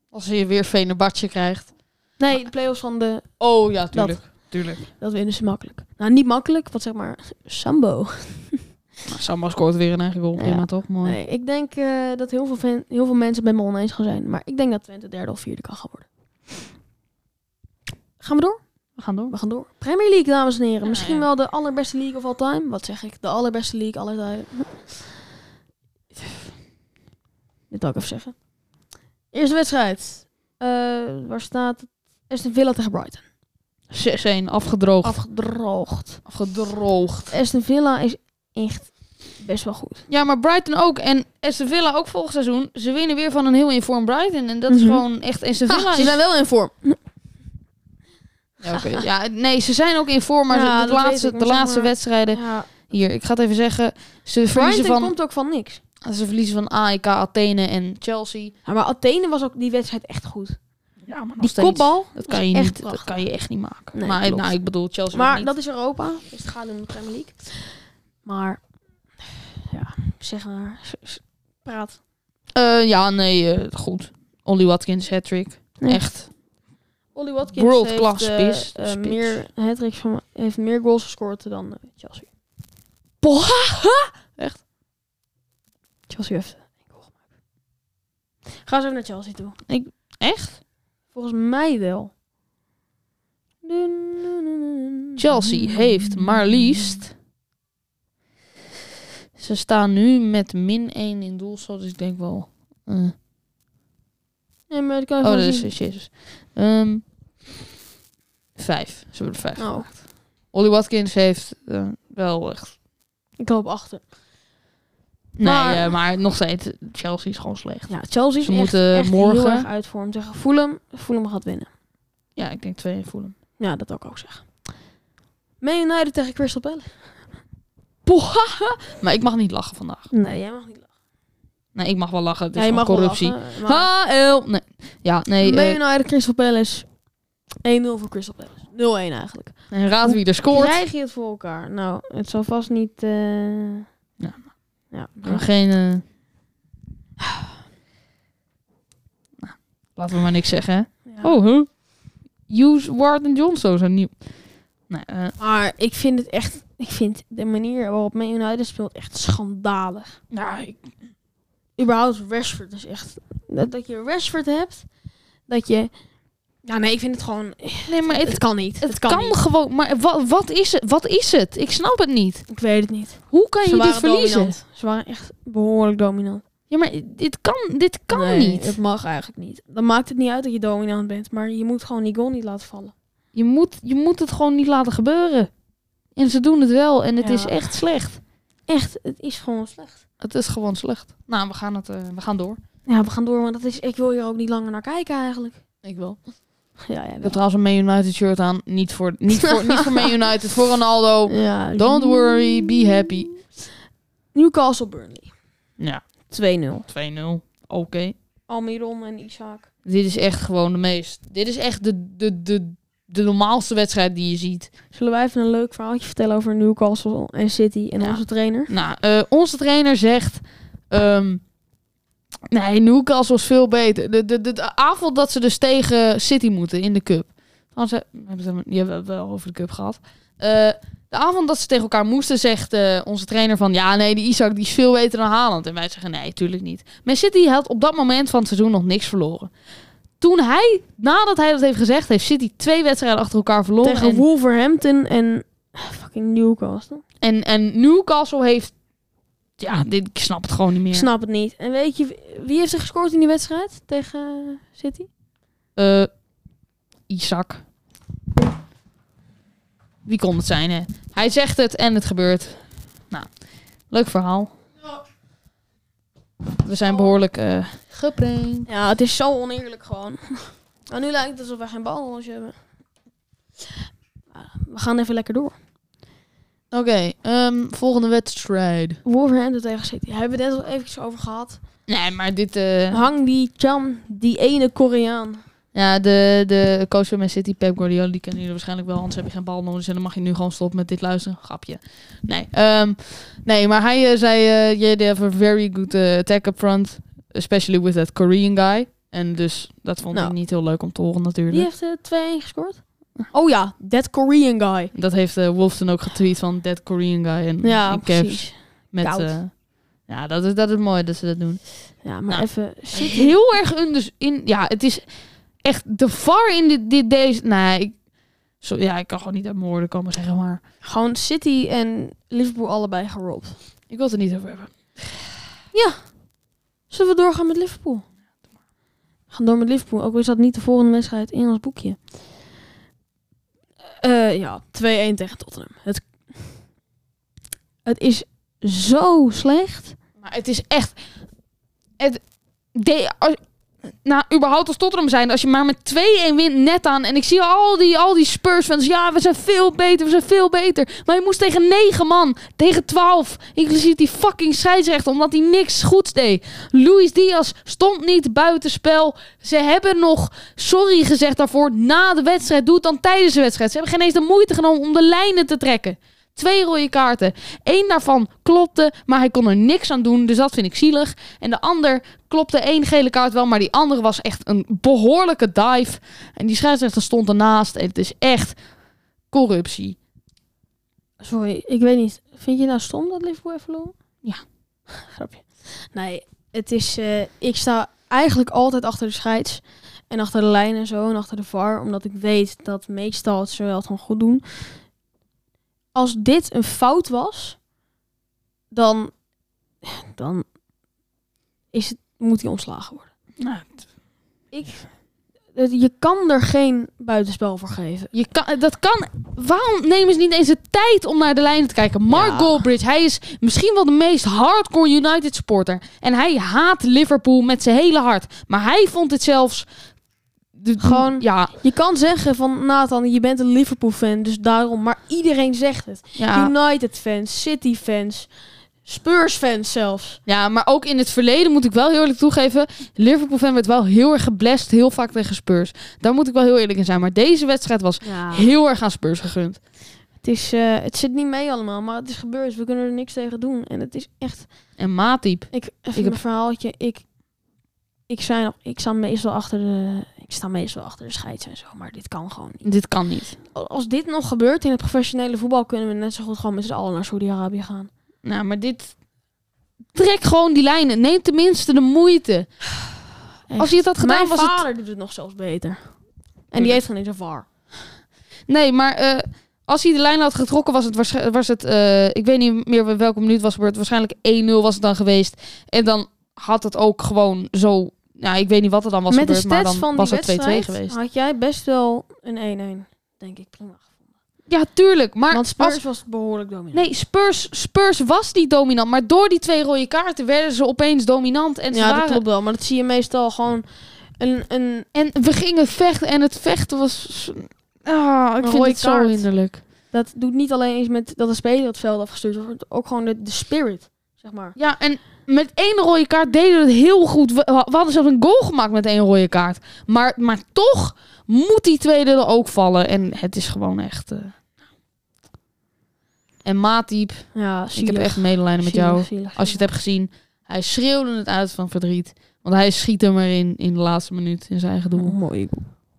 Als je weer Venerbatje krijgt.
Nee, de play-offs van de...
Oh ja,
tuurlijk.
Tuurlijk.
Dat winnen ze makkelijk. Nou, niet makkelijk, want zeg maar... Sambo.
Nou, Samba scoort weer een eigen goal.
Ja.
Prima toch? Mooi.
Nee, ik denk eh, dat heel veel, fan- heel veel mensen met me oneens gaan zijn. Maar ik denk dat Twente derde of vierde kan gaan worden. Gaan we door?
We gaan door.
We gaan door. Premier League, dames en heren.
Ja,
Misschien
ja.
wel de allerbeste league of all time. Wat zeg ik? De allerbeste league aller tijden. Dit wil ik even zeggen. Eerste wedstrijd. Eh, waar staat het? Aston Villa tegen Brighton.
6-1, afgedroogd.
Afgedroogd.
afgedroogd.
Aston Villa is echt best wel goed.
Ja, maar Brighton ook. En Aston Villa ook volgend seizoen. Ze winnen weer van een heel inform Brighton. En dat is
Mhm.
gewoon echt... Aston Villa
ze
is-
zijn wel in vorm.
Ja, oké. ja, nee, ze zijn ook in vorm. Maar
Ja,
ze-
dat
de
weet
laatste,
ik, maar
de
zeg
laatste
maar-
wedstrijden...
Ja.
Hier, ik ga het even zeggen. Ze verliezen,
Brighton
van,
komt ook van niks.
ze verliezen van AEK, Athene en Chelsea.
Ja, maar Athene was ook die wedstrijd echt goed.
Ja, maar
Die kopbal.
Dat kan, je
echt
niet, dat
prachtig.
kan je echt niet maken.
Nee,
maar
klopt.
nou, ik bedoel, Chelsea
Maar
niet.
dat is Europa. Dus het gaat om de Premier League. Maar, ja, zeg maar. s- s- Praat.
Eh, ja, nee, eh, goed. Ollie Watkins, hat-trick.
Nee.
Echt.
Ollie Watkins
World
heeft,
class
eh,
spits-
eh,
spits.
meer hattricks van heeft meer goals gescoord dan eh, Chelsea.
Echt?
Chelsea heeft één goal gemaakt. Ga eens even naar Chelsea toe.
Echt?
Volgens mij wel.
Chelsea heeft maar liefst... Ze staan nu met min 1 in doelsaldo, dus ik denk wel... eh.
Nee, maar dat kan je
Oh, dat
gewoon
is
zien.
is Jezus. Ehm, vijf. Ze hebben er vijf.
Oh.
gemaakt. Ollie Watkins heeft eh, wel echt...
Ik loop achter.
Nee,
Maar-
maar, maar nog steeds, Chelsea is gewoon slecht.
Ja, Chelsea is
Ze
echt,
moeten
echt
morgen-
heel erg uitvormen tegen Fulham. Fulham gaat winnen.
Ja, ik denk 2 voelen.
Ja, dat wil ik ook zeggen. Man United tegen Crystal Palace.
Poha! Maar ik mag niet lachen vandaag.
Nee, jij mag niet lachen.
Nee, ik mag wel lachen. Het is
Ja, Hm. je
gewoon
mag
corruptie.
wel lachen. maar-
HL! Nee. Ja, nee.
Man
eh,
United Crystal Palace. 1-0 voor Crystal Palace. 0-1 eigenlijk.
En raad wie er scoort.
Krijg je het voor elkaar? Nou, het zal vast niet... eh,
Ja.
ja.
Maar geen... eh, nou, laten we maar niks zeggen, hè?
Ja.
Oh, huh? Hughes, Ward en Johnson zijn nieuw. Nee, eh,
Maar ik vind het echt... Ik vind de manier waarop Man United speelt echt schandalig.
nou, ik-
Überhaupt Rashford is echt... Dat, dat je Rashford hebt, dat je... Ja, nee, ik vind het gewoon...
nee, maar
Het,
het,
kan niet.
het kan,
niet.
gewoon. Maar wat, wat, is het, wat is het? Ik snap het niet.
Ik weet het niet.
Hoe kan je dit verliezen?
dominant. Ze waren echt behoorlijk dominant.
Ja, maar dit kan, dit kan
Nee,
niet.
Dat mag eigenlijk niet. Dan maakt het niet uit dat je dominant bent, maar je moet gewoon die goal niet laten vallen.
Je moet, je moet het gewoon niet laten gebeuren. En ze doen het wel. En het
Ja.
is echt slecht.
Echt, het is gewoon slecht.
Het is gewoon slecht. Nou, we gaan, het, eh, we gaan door.
Ja, we gaan door, want dat is, ik wil hier ook niet langer naar kijken eigenlijk.
Ik wel.
Ja, ja,
Ik heb trouwens een Man United shirt aan. Niet voor, niet voor, niet voor Man United, voor Ronaldo.
ja,
Don't worry, be happy.
Newcastle Burnley.
Ja,
2-0.
2-0. Oké.
Almiron en Isaac.
Dit is echt gewoon de meest. Dit is echt de, de, de, de normaalste wedstrijd die je ziet.
Zullen wij even een leuk verhaaltje vertellen over Newcastle en City en
Ja.
onze trainer?
Nou, eh, onze trainer zegt. ehm, nee, Newcastle is veel beter. De, de, de, de avond dat ze dus tegen City moeten in de cup. Trouwens, eh, we hebben het, die hebben we wel over de cup gehad. Eh, de avond dat ze tegen elkaar moesten, zegt eh, onze trainer van... Ja, nee, die Isaac die is veel beter dan Haaland. En wij zeggen, nee, tuurlijk niet. Man City had op dat moment van het seizoen nog niks verloren. Toen hij, nadat hij dat heeft gezegd, heeft City twee wedstrijden achter elkaar verloren.
Tegen
en-
Wolverhampton en ah, fucking Newcastle.
en, en Newcastle heeft... Ja, dit, ik snap het gewoon niet meer.
Ik snap het niet. En weet je, wie heeft er gescoord in die wedstrijd tegen City?
Eh, Isaac. Wie kon het zijn, hè? Hij zegt het en het gebeurt. Nou, leuk verhaal. We zijn behoorlijk eh geprankt.
Ja, het is zo oneerlijk gewoon. Maar nu lijkt het alsof we geen balans hebben. Maar We gaan even lekker door.
Oké, ehm, volgende wedstrijd.
Wolverhampton tegen City. Hebben we het net al eventjes over gehad.
Nee, maar dit... eh,
Hang die Cham, die ene Koreaan.
ja, de, de coach van Man City, Pep Guardiola, die kennen jullie waarschijnlijk wel. Anders heb je geen bal nodig en dan mag je nu gewoon stoppen met dit luisteren. Grapje. Nee, ehm, nee maar hij eh, zei, eh yeah, they have a very good eh, attack up front. Especially with that Korean guy. En dus dat vond
Nou.
ik niet heel leuk om te horen natuurlijk.
Die heeft eh, 2-1 gescoord. Oh ja, that Korean guy.
Dat heeft eh, Wolfson ook getweet van that Korean guy en
Ja,
in caps.
precies.
Met,
Koud.
eh, ja, dat is, dat is mooi dat ze dat doen.
Ja, maar
Nou,
even City.
heel erg under, in. Ja, het is echt de var in dit, dit deze. Nee, ik, zo, ja, ik kan gewoon niet uit mijn woorden komen zeggen, maar
Gewoon City en Liverpool allebei gerold.
ik wil het er niet over hebben.
Zullen we doorgaan met Liverpool? We gaan door met Liverpool. Ook al is dat niet de volgende wedstrijd in ons boekje. Eh, ja, 2-1 tegen Tottenham. Het, het is zo slecht.
Maar het is echt. Het, de, als- nou, überhaupt als Tottenham zijn, als je maar met 2-1 wint net aan. En ik zie al die, al die Spurs fans. Ja, we zijn veel beter, we zijn veel beter. Maar je moest tegen 9 man, tegen 12. Inclusief die fucking scheidsrechter, omdat hij niks goeds deed. Luis Diaz stond niet buitenspel. Ze hebben nog sorry gezegd daarvoor na de wedstrijd. Doe het dan tijdens de wedstrijd. Ze hebben geen eens de moeite genomen om de lijnen te trekken. Twee rode kaarten. Eén daarvan klopte, maar hij kon er niks aan doen. Dus dat vind ik zielig. En de ander klopte één gele kaart wel, maar die andere was echt een behoorlijke dive. En die scheidsrechter stond ernaast. En het is echt corruptie.
Sorry, ik weet niet. Vind je nou stom dat Liverpool heeft verloren?
Ja.
Grapje. Nee, het is... eh, ik sta eigenlijk altijd achter de scheids. En achter de lijn en zo. En achter de VAR. Omdat ik weet dat meestal het ze wel gewoon goed doen. Als dit een fout was... Dan... Dan... Is het, moet hij ontslagen worden. Ik... het- Je kan er geen buitenspel voor geven.
Je kan, dat kan. Waarom nemen ze niet eens de tijd om naar de lijnen te kijken? Mark
Ja.
Goldbridge, hij is misschien wel de meest hardcore United supporter. En hij haat Liverpool met zijn hele hart. Maar hij vond het zelfs. de-
Gewoon-
Ja,
Je kan zeggen van Nathan, je bent een
Ah.
Liverpool fan, dus daarom. Maar iedereen zegt het.
ja.
United fans, City fans, Spurs-fans zelfs.
Ja, maar ook in het verleden moet ik wel heel eerlijk toegeven. Liverpool-fan werd wel heel erg geblest, heel vaak tegen Spurs. Daar moet ik wel heel eerlijk in zijn. Maar deze wedstrijd was heel erg aan Spurs gegund.
Het, is, eh, het zit niet mee allemaal, maar het is gebeurd. We kunnen er niks tegen doen. En het is echt...
En Matip.
Ik, even
heb-
een verhaaltje. Ik, ik, zei nog, ik sta meestal achter de... Ik sta meestal achter de scheids en zo, maar dit kan gewoon niet.
Dit kan niet.
Als dit nog gebeurt in het professionele voetbal, kunnen we net zo goed gewoon met z'n allen naar Saudi-Arabië gaan.
Nou, maar dit... Trek gewoon die lijnen. Neem tenminste de moeite. Als hij het had gedaan,
Mijn
was het...
vader doet het nog zelfs beter. En die heeft geen eens een VAR.
Nee, maar eh, als hij de lijn had getrokken, was het waarsch- was het, eh, ik weet niet meer welke minuut was gebeurd. Waarschijnlijk 1-0 was het dan geweest. En dan had het ook gewoon zo. Nou, ik weet niet wat er dan was
Met de
gebeurd, maar
stats
dan
van
was
die
het 2-2
wedstrijd
geweest.
had jij best wel een 1-1, denk ik, prima gevonden.
Ja, tuurlijk. Maar
Want Spurs
als,
was behoorlijk dominant.
nee, Spurs, Spurs was niet dominant. Maar door die twee rode kaarten werden ze opeens dominant. En, ze
ja, dat
waren-
klopt wel. Maar dat zie je meestal gewoon een, een
en we gingen vechten en het vechten was... Ah, ik
Een
vind
rode
het zo
kaart.
hinderlijk.
Dat doet niet alleen eens met dat een speler het veld afgestuurd wordt, ook gewoon de, de spirit, zeg maar.
Ja, en met één rode kaart deden we het heel goed. We, we hadden zelfs een goal gemaakt met één rode kaart. Maar, maar toch moet die tweede er ook vallen. En het is gewoon echt... eh, En Matip,
Ja,
ik heb echt medelijden met jou. Als je het hebt gezien, hij schreeuwde het uit van verdriet. Want hij schiet hem maar in, in de laatste minuut, in zijn eigen doel.
mooi.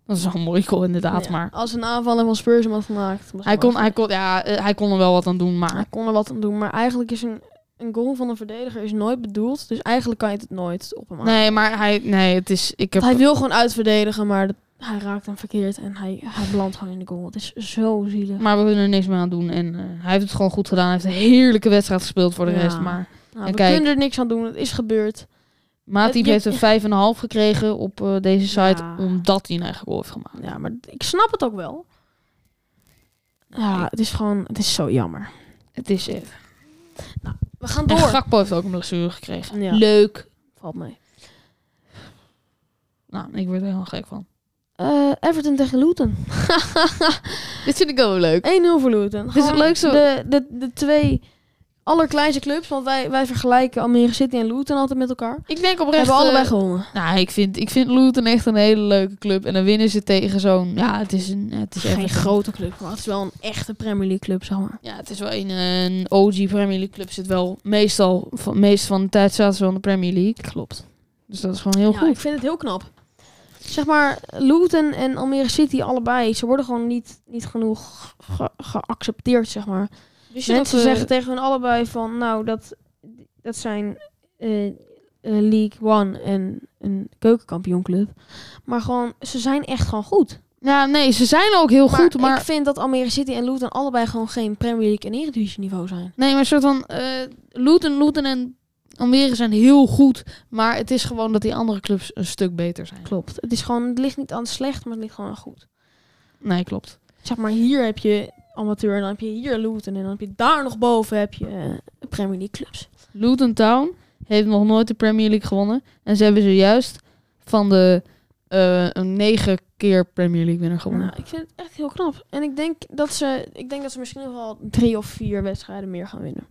Dat is wel een mooi goal inderdaad, maar...
Als een aanvaller van Spurs hem had gemaakt. was
Hij
het
kon,
wel-
hij, kon, ja, eh, hij kon er wel wat aan doen, maar...
hij kon er wat aan doen, maar eigenlijk is een, een goal van een verdediger is nooit bedoeld, dus eigenlijk kan je het nooit op hem aan.
Nee, maar hij... Nee, het is... Ik heb,
Want Hij wil gewoon uitverdedigen, maar dat- hij raakt hem verkeerd en hij, hij belandt gewoon in de goal. Het is zo zielig.
Maar we kunnen er niks meer aan doen. En eh, hij heeft het gewoon goed gedaan. Hij heeft een heerlijke wedstrijd gespeeld voor de
Ja.
rest. Maar
Nou,
En
we
kijk.
kunnen er niks aan doen, het is gebeurd.
Matip
je-
heeft een 5,5 gekregen op eh, deze site.
Ja.
Omdat hij een eigen goal heeft gemaakt.
Ja, maar ik snap het ook wel. Ja, het is gewoon, het is zo jammer.
Het is even.
We gaan
En
door.
Gakpo heeft ook een blessure gekregen.
Ja.
Leuk.
Valt mee.
Nou, ik word er helemaal gek van.
Eh, Everton tegen Luton. 1-0
Dit vind ik ook leuk.
voor Luton.
is het
Gewoon
leukste-
De, de, de twee allerkleinste clubs. Want wij, wij vergelijken Almere City en Luton altijd met elkaar.
Ik denk
We
oprecht...
hebben allebei
eh,
gewonnen.
nou, ik vind, ik vind Luton echt een hele leuke club. En dan winnen ze tegen zo'n... Ja, het is een... Het is echt
Geen grote club, maar het is wel een echte Premier League club, zeg maar.
Ja, het is wel een, een OG Premier League club. Zit wel meestal... Van, meest van de tijd zaten ze wel in de Premier League. Klopt. Dus dat is gewoon heel
ja,
goed.
ik vind het heel knap. Zeg maar, Luton en Almere City allebei, ze worden gewoon niet, niet genoeg ge- geaccepteerd, zeg maar.
Wist
Mensen
dat, eh,
zeggen tegen hun allebei van, nou, dat, dat zijn eh, eh, League One en een keukenkampioenclub. Maar gewoon, ze zijn echt gewoon goed.
Ja, nee, ze zijn ook heel goed, maar...
ik vind dat Almere City en Luton allebei gewoon geen Premier League en Eredivisie niveau zijn.
Nee, maar een soort van... eh Luton, Luton en Almere zijn heel goed, maar het is gewoon dat die andere clubs een stuk beter zijn.
Klopt. Het, is gewoon, het ligt niet aan slecht, maar het ligt gewoon aan goed.
Nee, klopt.
Zeg maar, hier heb je amateur en dan heb je hier Luton en dan heb je daar nog boven heb je eh, Premier League clubs.
Luton Town heeft nog nooit de Premier League gewonnen. En ze hebben zojuist van de eh, een negen keer Premier League winnaar gewonnen.
Nou, ik vind het echt heel knap. En ik denk dat ze, ik denk dat ze misschien nog wel drie of vier wedstrijden meer gaan winnen.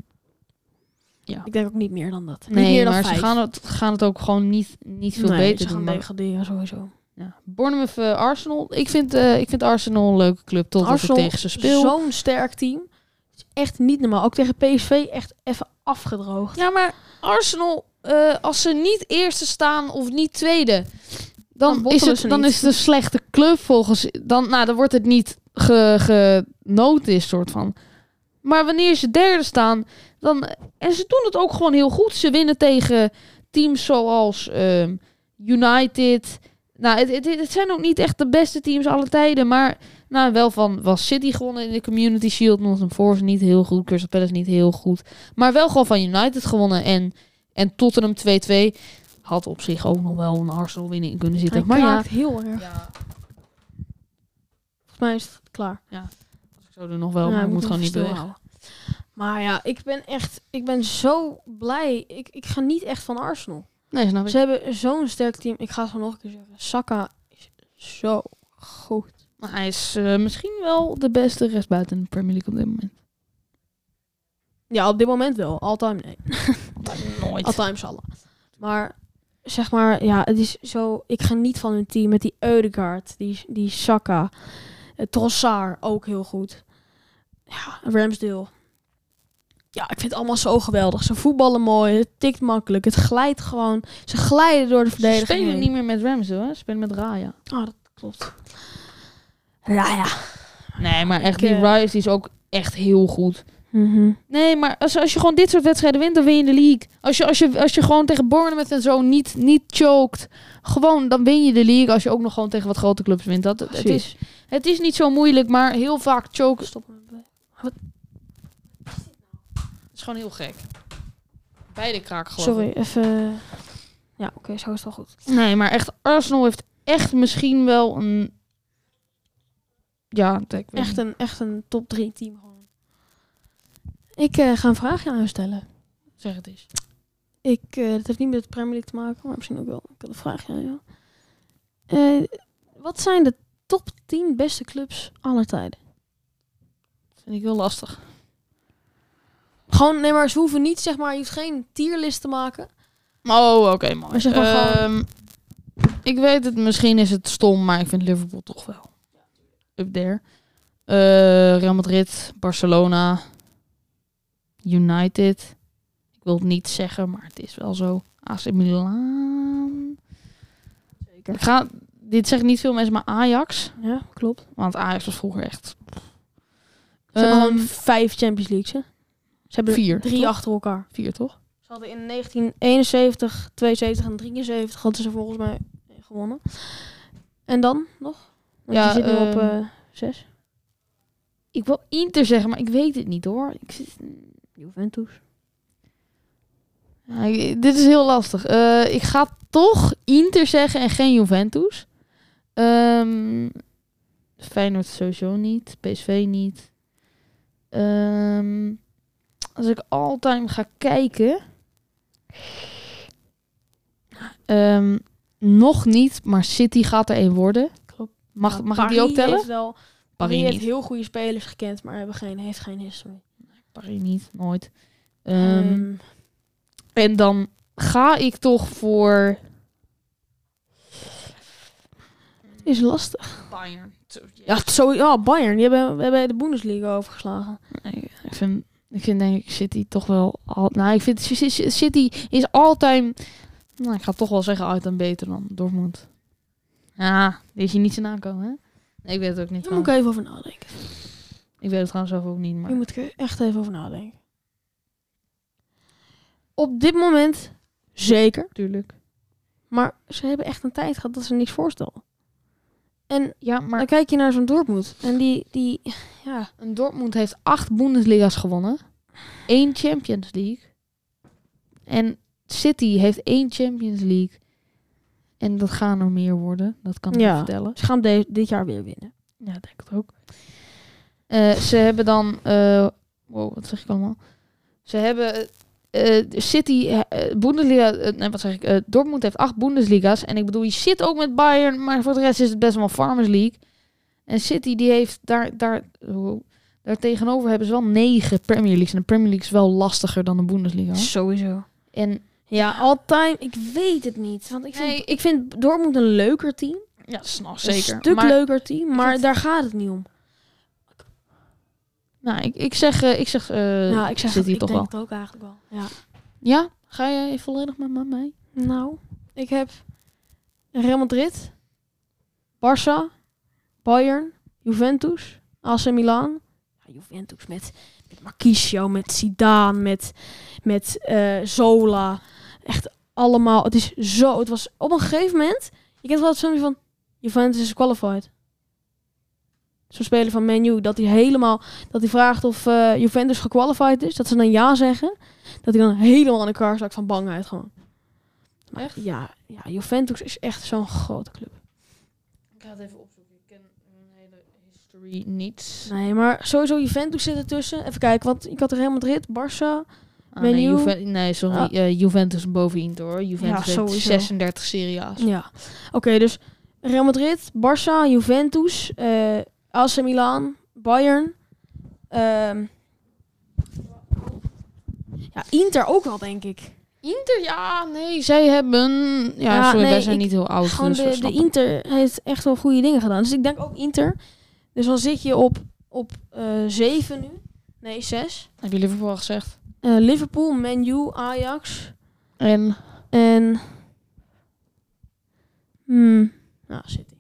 Ja.
Ik denk ook niet meer dan dat. Nou, niet
Nee,
meer dan
maar
vijf.
ze gaan het, gaan het ook gewoon niet, niet veel
Nee,
beter
ze gaan
doen. maar-
degraderen sowieso.
Ja. Bournemouth, eh, Arsenal. Ik vind, eh, ik vind Arsenal een leuke club, totdat
Arsenal,
ik tegen ze speel.
Zo'n sterk team. Het is echt niet normaal. Ook tegen PSV echt even afgedroogd.
Ja, maar Arsenal, eh, als ze niet eerste staan of niet tweede, dan,
Dan bottelen
is,
ze
het, dan
niet.
is het een slechte club volgens. Dan, nou, dan wordt het niet ge, genoteerd, soort van. Maar wanneer ze derde staan, dan. En ze doen het ook gewoon heel goed. Ze winnen tegen teams zoals ehm, United. Nou, het, het, het zijn ook niet echt de beste teams alle tijden. Maar nou, wel van was City gewonnen in de Community Shield. Nottingham Forest niet heel goed. Crystal Palace niet heel goed. Maar wel gewoon van United gewonnen. En, en Tottenham 2-2 had op zich ook nog wel een Arsenal winning in kunnen
Hij
zitten. maar ja,
kraakt heel erg.
ja,
Volgens mij is het klaar.
ik zou er nog wel.
Ja,
maar
we
ik moet
moeten
gewoon niet
even
bewegen.
stilhouden. Maar ja, ik ben echt, ik ben zo blij. Ik, ik geniet echt van Arsenal.
Nee, snap ik.
Ze hebben zo'n sterk team. Ik ga het gewoon nog een keer zeggen. Saka is zo goed.
Maar hij is eh, misschien wel de beste rechtsbuiten in de Premier League op dit moment.
Ja, op dit moment wel. All-time nee.
Nooit.
All-time zal. Maar zeg maar, ja, het is zo... Ik geniet van hun team met die Eudegaard, die, die Saka, eh, Trossard ook heel goed. Ja, Ramsdale. Ja, ik vind het allemaal zo geweldig. Ze voetballen mooi, het tikt makkelijk, het glijdt gewoon. Ze glijden door de
Ze
verdediging
spelen
heen.
niet meer met Ramsdale, hè? Ze spelen met Raya.
Ah, dat klopt. Raya.
Nee, maar echt,
Ik,
die
eh,
Raya die is ook echt heel goed.
Mhm.
Nee, maar als, als je gewoon dit soort wedstrijden wint, dan win je de league. Als je, als je, als je gewoon tegen Bournemouth en zo niet, niet choked, gewoon, dan win je de league. Als je ook nog gewoon tegen wat grote clubs wint. Dat, het,
Precies.
is, het is niet zo moeilijk, maar heel vaak choken
Stop met
is gewoon heel gek. Beide kraken gewoon.
Sorry, even. Ja, oké, zo is het wel goed.
Nee, maar echt, Arsenal heeft echt misschien wel een... Ja, ik weet niet.
Echt een, echt een top 3 team gewoon. Ik eh, ga een vraagje aan jou stellen.
Zeg het eens.
Ik, eh dat heeft niet met de Premier League te maken, maar misschien ook wel. Ik had een vraagje aan jou. Eh, wat zijn de top 10 beste clubs aller tijden?
Vind ik heel lastig.
Gewoon, nee, maar ze hoeven niet, zeg maar, je hoeft geen tierlist te maken.
Oh, oké, mooi.
Maar zeg maar gewoon-
Ehm, Ik weet het, misschien is het stom, maar ik vind Liverpool toch wel up there. Eh, Real Madrid, Barcelona, United. Ik wil het niet zeggen, maar het is wel zo. AC Milan. Ik ga, dit zeggen niet veel mensen, maar Ajax.
Ja, klopt.
Want Ajax was vroeger echt...
Ze hebben
Ehm,
gewoon vijf Champions Leagues, hè? Ze hebben
Vier,
drie
toch?
achter elkaar.
vier, toch?
Ze hadden in 1971, 72 en 73 hadden ze volgens mij gewonnen. En dan nog? Want
Ja,
je zit nu op
ehm,
eh, zes.
Ik wil Inter zeggen, maar ik weet het niet, hoor. Ik zit...
Juventus.
Ja, Nou, ik- dit is heel lastig. Eh, ik ga toch Inter zeggen en geen Juventus. Ehm Feyenoord sowieso niet. PSV niet. Ehm, als ik all-time ga kijken... Ehm, nog niet, maar City gaat er één worden.
Klopt.
Mag, mag ik die ook tellen?
Heeft wel, Paris
Paris
heeft
niet.
heel goede spelers gekend, maar hebben geen, heeft geen history.
Paris niet, nooit. Ehm,
Ehm,
En dan ga ik toch voor...
is lastig.
Bayern. Ja,
Ja, zo, ja, Bayern. Die hebben, we hebben de Bundesliga overgeslagen.
Nee, ik vind, ik vind denk ik City toch wel... Al, nou, ik vind C- C- City is altijd... Nou, ik ga toch wel zeggen altijd beter dan Dortmund. Ja, die is je niet zo nakomen, hè? Nee, ik weet het ook niet.
Hier moet
trouwens.
ik even over nadenken.
Ik weet het trouwens zelf ook niet, maar...
Hier moet ik echt even over nadenken. Op dit moment zeker.
Natuurlijk.
Maar ze hebben echt een tijd gehad dat ze niks voorstelden. En
Ja, maar
dan kijk je naar zo'n Dortmund. En die, die ja,
een Dortmund heeft acht Bundesliga's gewonnen. één Champions League. En City heeft één Champions League. En dat gaan er meer worden. Dat kan ik
Ja.
je vertellen.
ze gaan de- dit jaar weer winnen.
Ja, ik denk het ook. Eh, ze hebben dan... eh, wow, wat zeg ik allemaal? Ze hebben eh, eh, City, eh, eh, Bundesliga... eh, nee, wat zeg ik? Eh, Dortmund heeft acht Bundesliga's. En ik bedoel, je zit ook met Bayern, maar voor de rest is het best wel Farmers League. En City, die heeft daar... daar wow, daar tegenover hebben ze wel negen Premier Leagues. En de Premier League is wel lastiger dan de Bundesliga.
Sowieso.
En
Ja, altijd. Ik weet het niet. Want ik vind,
Nee.
ik vind Dortmund een leuker team.
ja, snap
Een stuk
maar,
leuker team. Maar
vind-
daar gaat het niet om.
Nou, ik, ik zeg, eh, ik zeg, eh,
nou, ik zeg
City
het,
toch
ik denk
wel.
het ook eigenlijk wel. Ja.
Ja? Ga jij volledig met me mee?
Nou, ik heb Real Madrid, Barça, Bayern, Juventus, AC Milan. Ja, Juventus met, met Marquisio, met Zidane, met, met eh, Zola. Echt allemaal. Het is zo. Het was op een gegeven moment. Je kent wel het filmpje van Juventus is qualified. Zo'n speler van Menu dat hij helemaal dat hij vraagt of eh, Juventus gequalified is, dat ze dan ja zeggen, dat hij dan helemaal in elkaar zakt van bangheid gewoon. Maar
Echt?
Ja, ja, Juventus is echt zo'n grote club.
Ik ga het even opzoeken. Ik ken hun hele history niet.
Nee, maar sowieso Juventus zit ertussen. Even kijken, want ik had Real Madrid, Barça.
Ah, nee,
Menu.
Juve- nee, sorry.
Ah.
eh, Juventus boven Inter hoor. Juventus heeft
sowieso.
36 Serie A's.
Ja. Oké, dus Real Madrid, Barça, Juventus, eh AC Milan, Bayern. ehm, Ja, Inter ook wel, denk ik.
Inter, ja, nee, zij hebben... Ja,
Ja,
sorry,
nee,
wij zijn
ik-
niet heel oud.
Gewoon
dus we
de, de
snappen.
Inter heeft echt wel goede dingen gedaan. Dus ik denk ook Inter. Dus dan zit je op, op eh 7 nu. Nee, 6.
Heb je Liverpool al gezegd?
Eh, Liverpool, Man U, Ajax.
En
En. Hmm. Nou, City.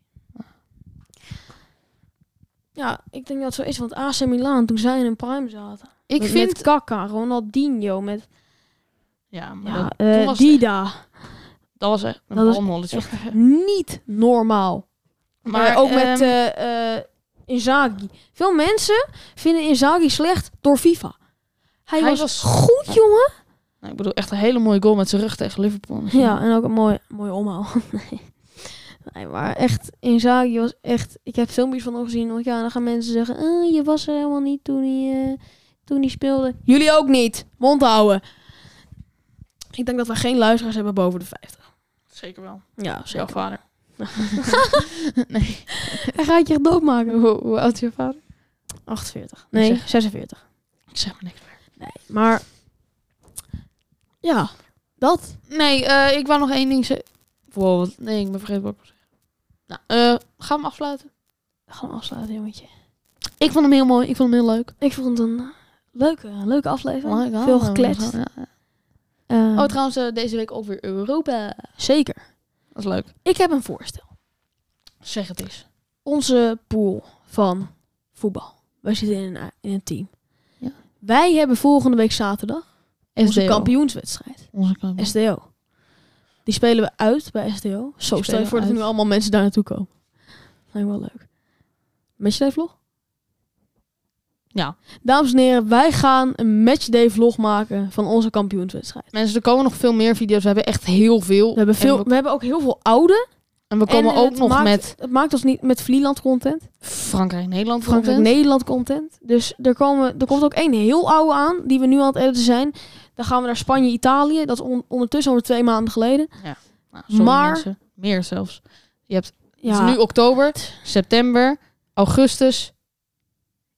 Ja, ik denk dat het zo is. Want AC Milan, toen zij in een prime zaten.
ik
met,
vind...
Met Kaka, Ronaldinho, met
ja, maar
ja,
dat, toen
eh,
was-
Dida.
dat was echt een
dat was
onnolletje.
Niet normaal. Maar ook
ehm,
met eh, eh, Inzaghi. Veel mensen vinden Inzaghi slecht door FIFA. Hij,
Hij
was,
was-
goed, jongen.
nou, ik bedoel, echt een hele mooie goal met zijn rug tegen Liverpool.
Ja, en ook een mooi, mooi omhaal. nee. nee, maar echt, Inzaghi was echt... Ik heb filmpjes van hem gezien. Want ja, dan gaan mensen zeggen... "Eh, je was er helemaal niet toen hij, eh, toen hij speelde. Jullie ook niet. Mond houden. Ik denk dat we geen luisteraars hebben boven de 50.
Zeker wel.
Ja,
Jouw vader.
Hij gaat je echt doodmaken.
Hoe, hoe oud is je vader?
48. Nee,
Zeg.
46.
Ik zeg maar niks meer.
Maar ja, dat.
Nee, eh, ik wou nog één ding zeggen. Wow, wat- nee, ik ben vergeten wat ik wil zeggen. Nou, eh, ga hem afsluiten.
Gaan we afsluiten, jongetje.
Ik vond hem heel mooi. Ik vond hem heel leuk.
Ik vond het een eh, leuke, een leuke aflevering.
Lang-
Veel
lang-
gekletst.
ja, ja.
Eh,
Oh, trouwens, eh, deze week ook weer Europa.
zeker.
Dat is leuk.
Ik heb een voorstel.
Zeg het eens.
Onze pool van voetbal. Wij zitten in een, in een team.
Ja.
Wij hebben volgende week zaterdag onze
SDO.
kampioenswedstrijd.
Onze kampioen.
SDO. Die spelen we uit bij SDO. Zo, stel
spelen
je
we
voor dat
uit.
er nu allemaal mensen daar naartoe komen. Lijkt me wel leuk. Matchday vlog?
Ja.
Dames en heren, wij gaan een matchday vlog maken van onze kampioenswedstrijd.
Mensen, er komen nog veel meer video's. We hebben echt heel veel.
We hebben, veel,
En we,
we hebben ook heel veel oude.
en we
en
komen ook
het
nog
maakt-
met
Het maakt ons niet met Vlieland content.
Frankrijk-Nederland.
Frankrijk
content.
Nederland content. Dus er, komen, er komt ook één heel oude aan, die we nu aan het editen zijn. Dan gaan we naar Spanje, Italië. Dat is on- ondertussen alweer twee maanden geleden.
Nou, sorry,
Maar-
mensen. Meer zelfs. Je hebt
Ja,
Het is nu oktober, september, augustus,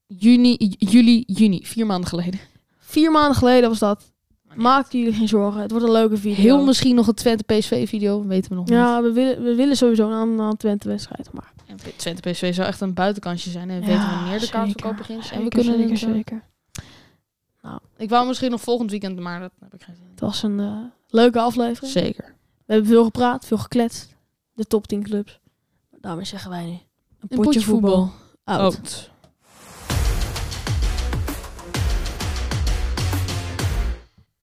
juni, j- juli, juni. Vier maanden geleden.
vier maanden geleden was dat.
niet
Maak jullie geen zorgen. Het wordt een leuke video.
Heel misschien nog een Twente PSV-video, weten we nog
Ja, we willen, we willen sowieso een, een Twente-wedstrijd. Maar
niet. En Twente PSV zou echt een buitenkansje zijn. En we
Ja,
weten wanneer de
zeker,
kaartverkoop begint. en we
zeker,
kunnen
zeker,
het, eh,
zeker.
Ik wou misschien nog volgend weekend, maar dat heb ik geen zin
Het was een eh, leuke
in.
aflevering.
Zeker.
We hebben veel gepraat, veel gekletst. De top 10 clubs. Daarmee zeggen wij nu. Een potje, voetbal. Out.
Out.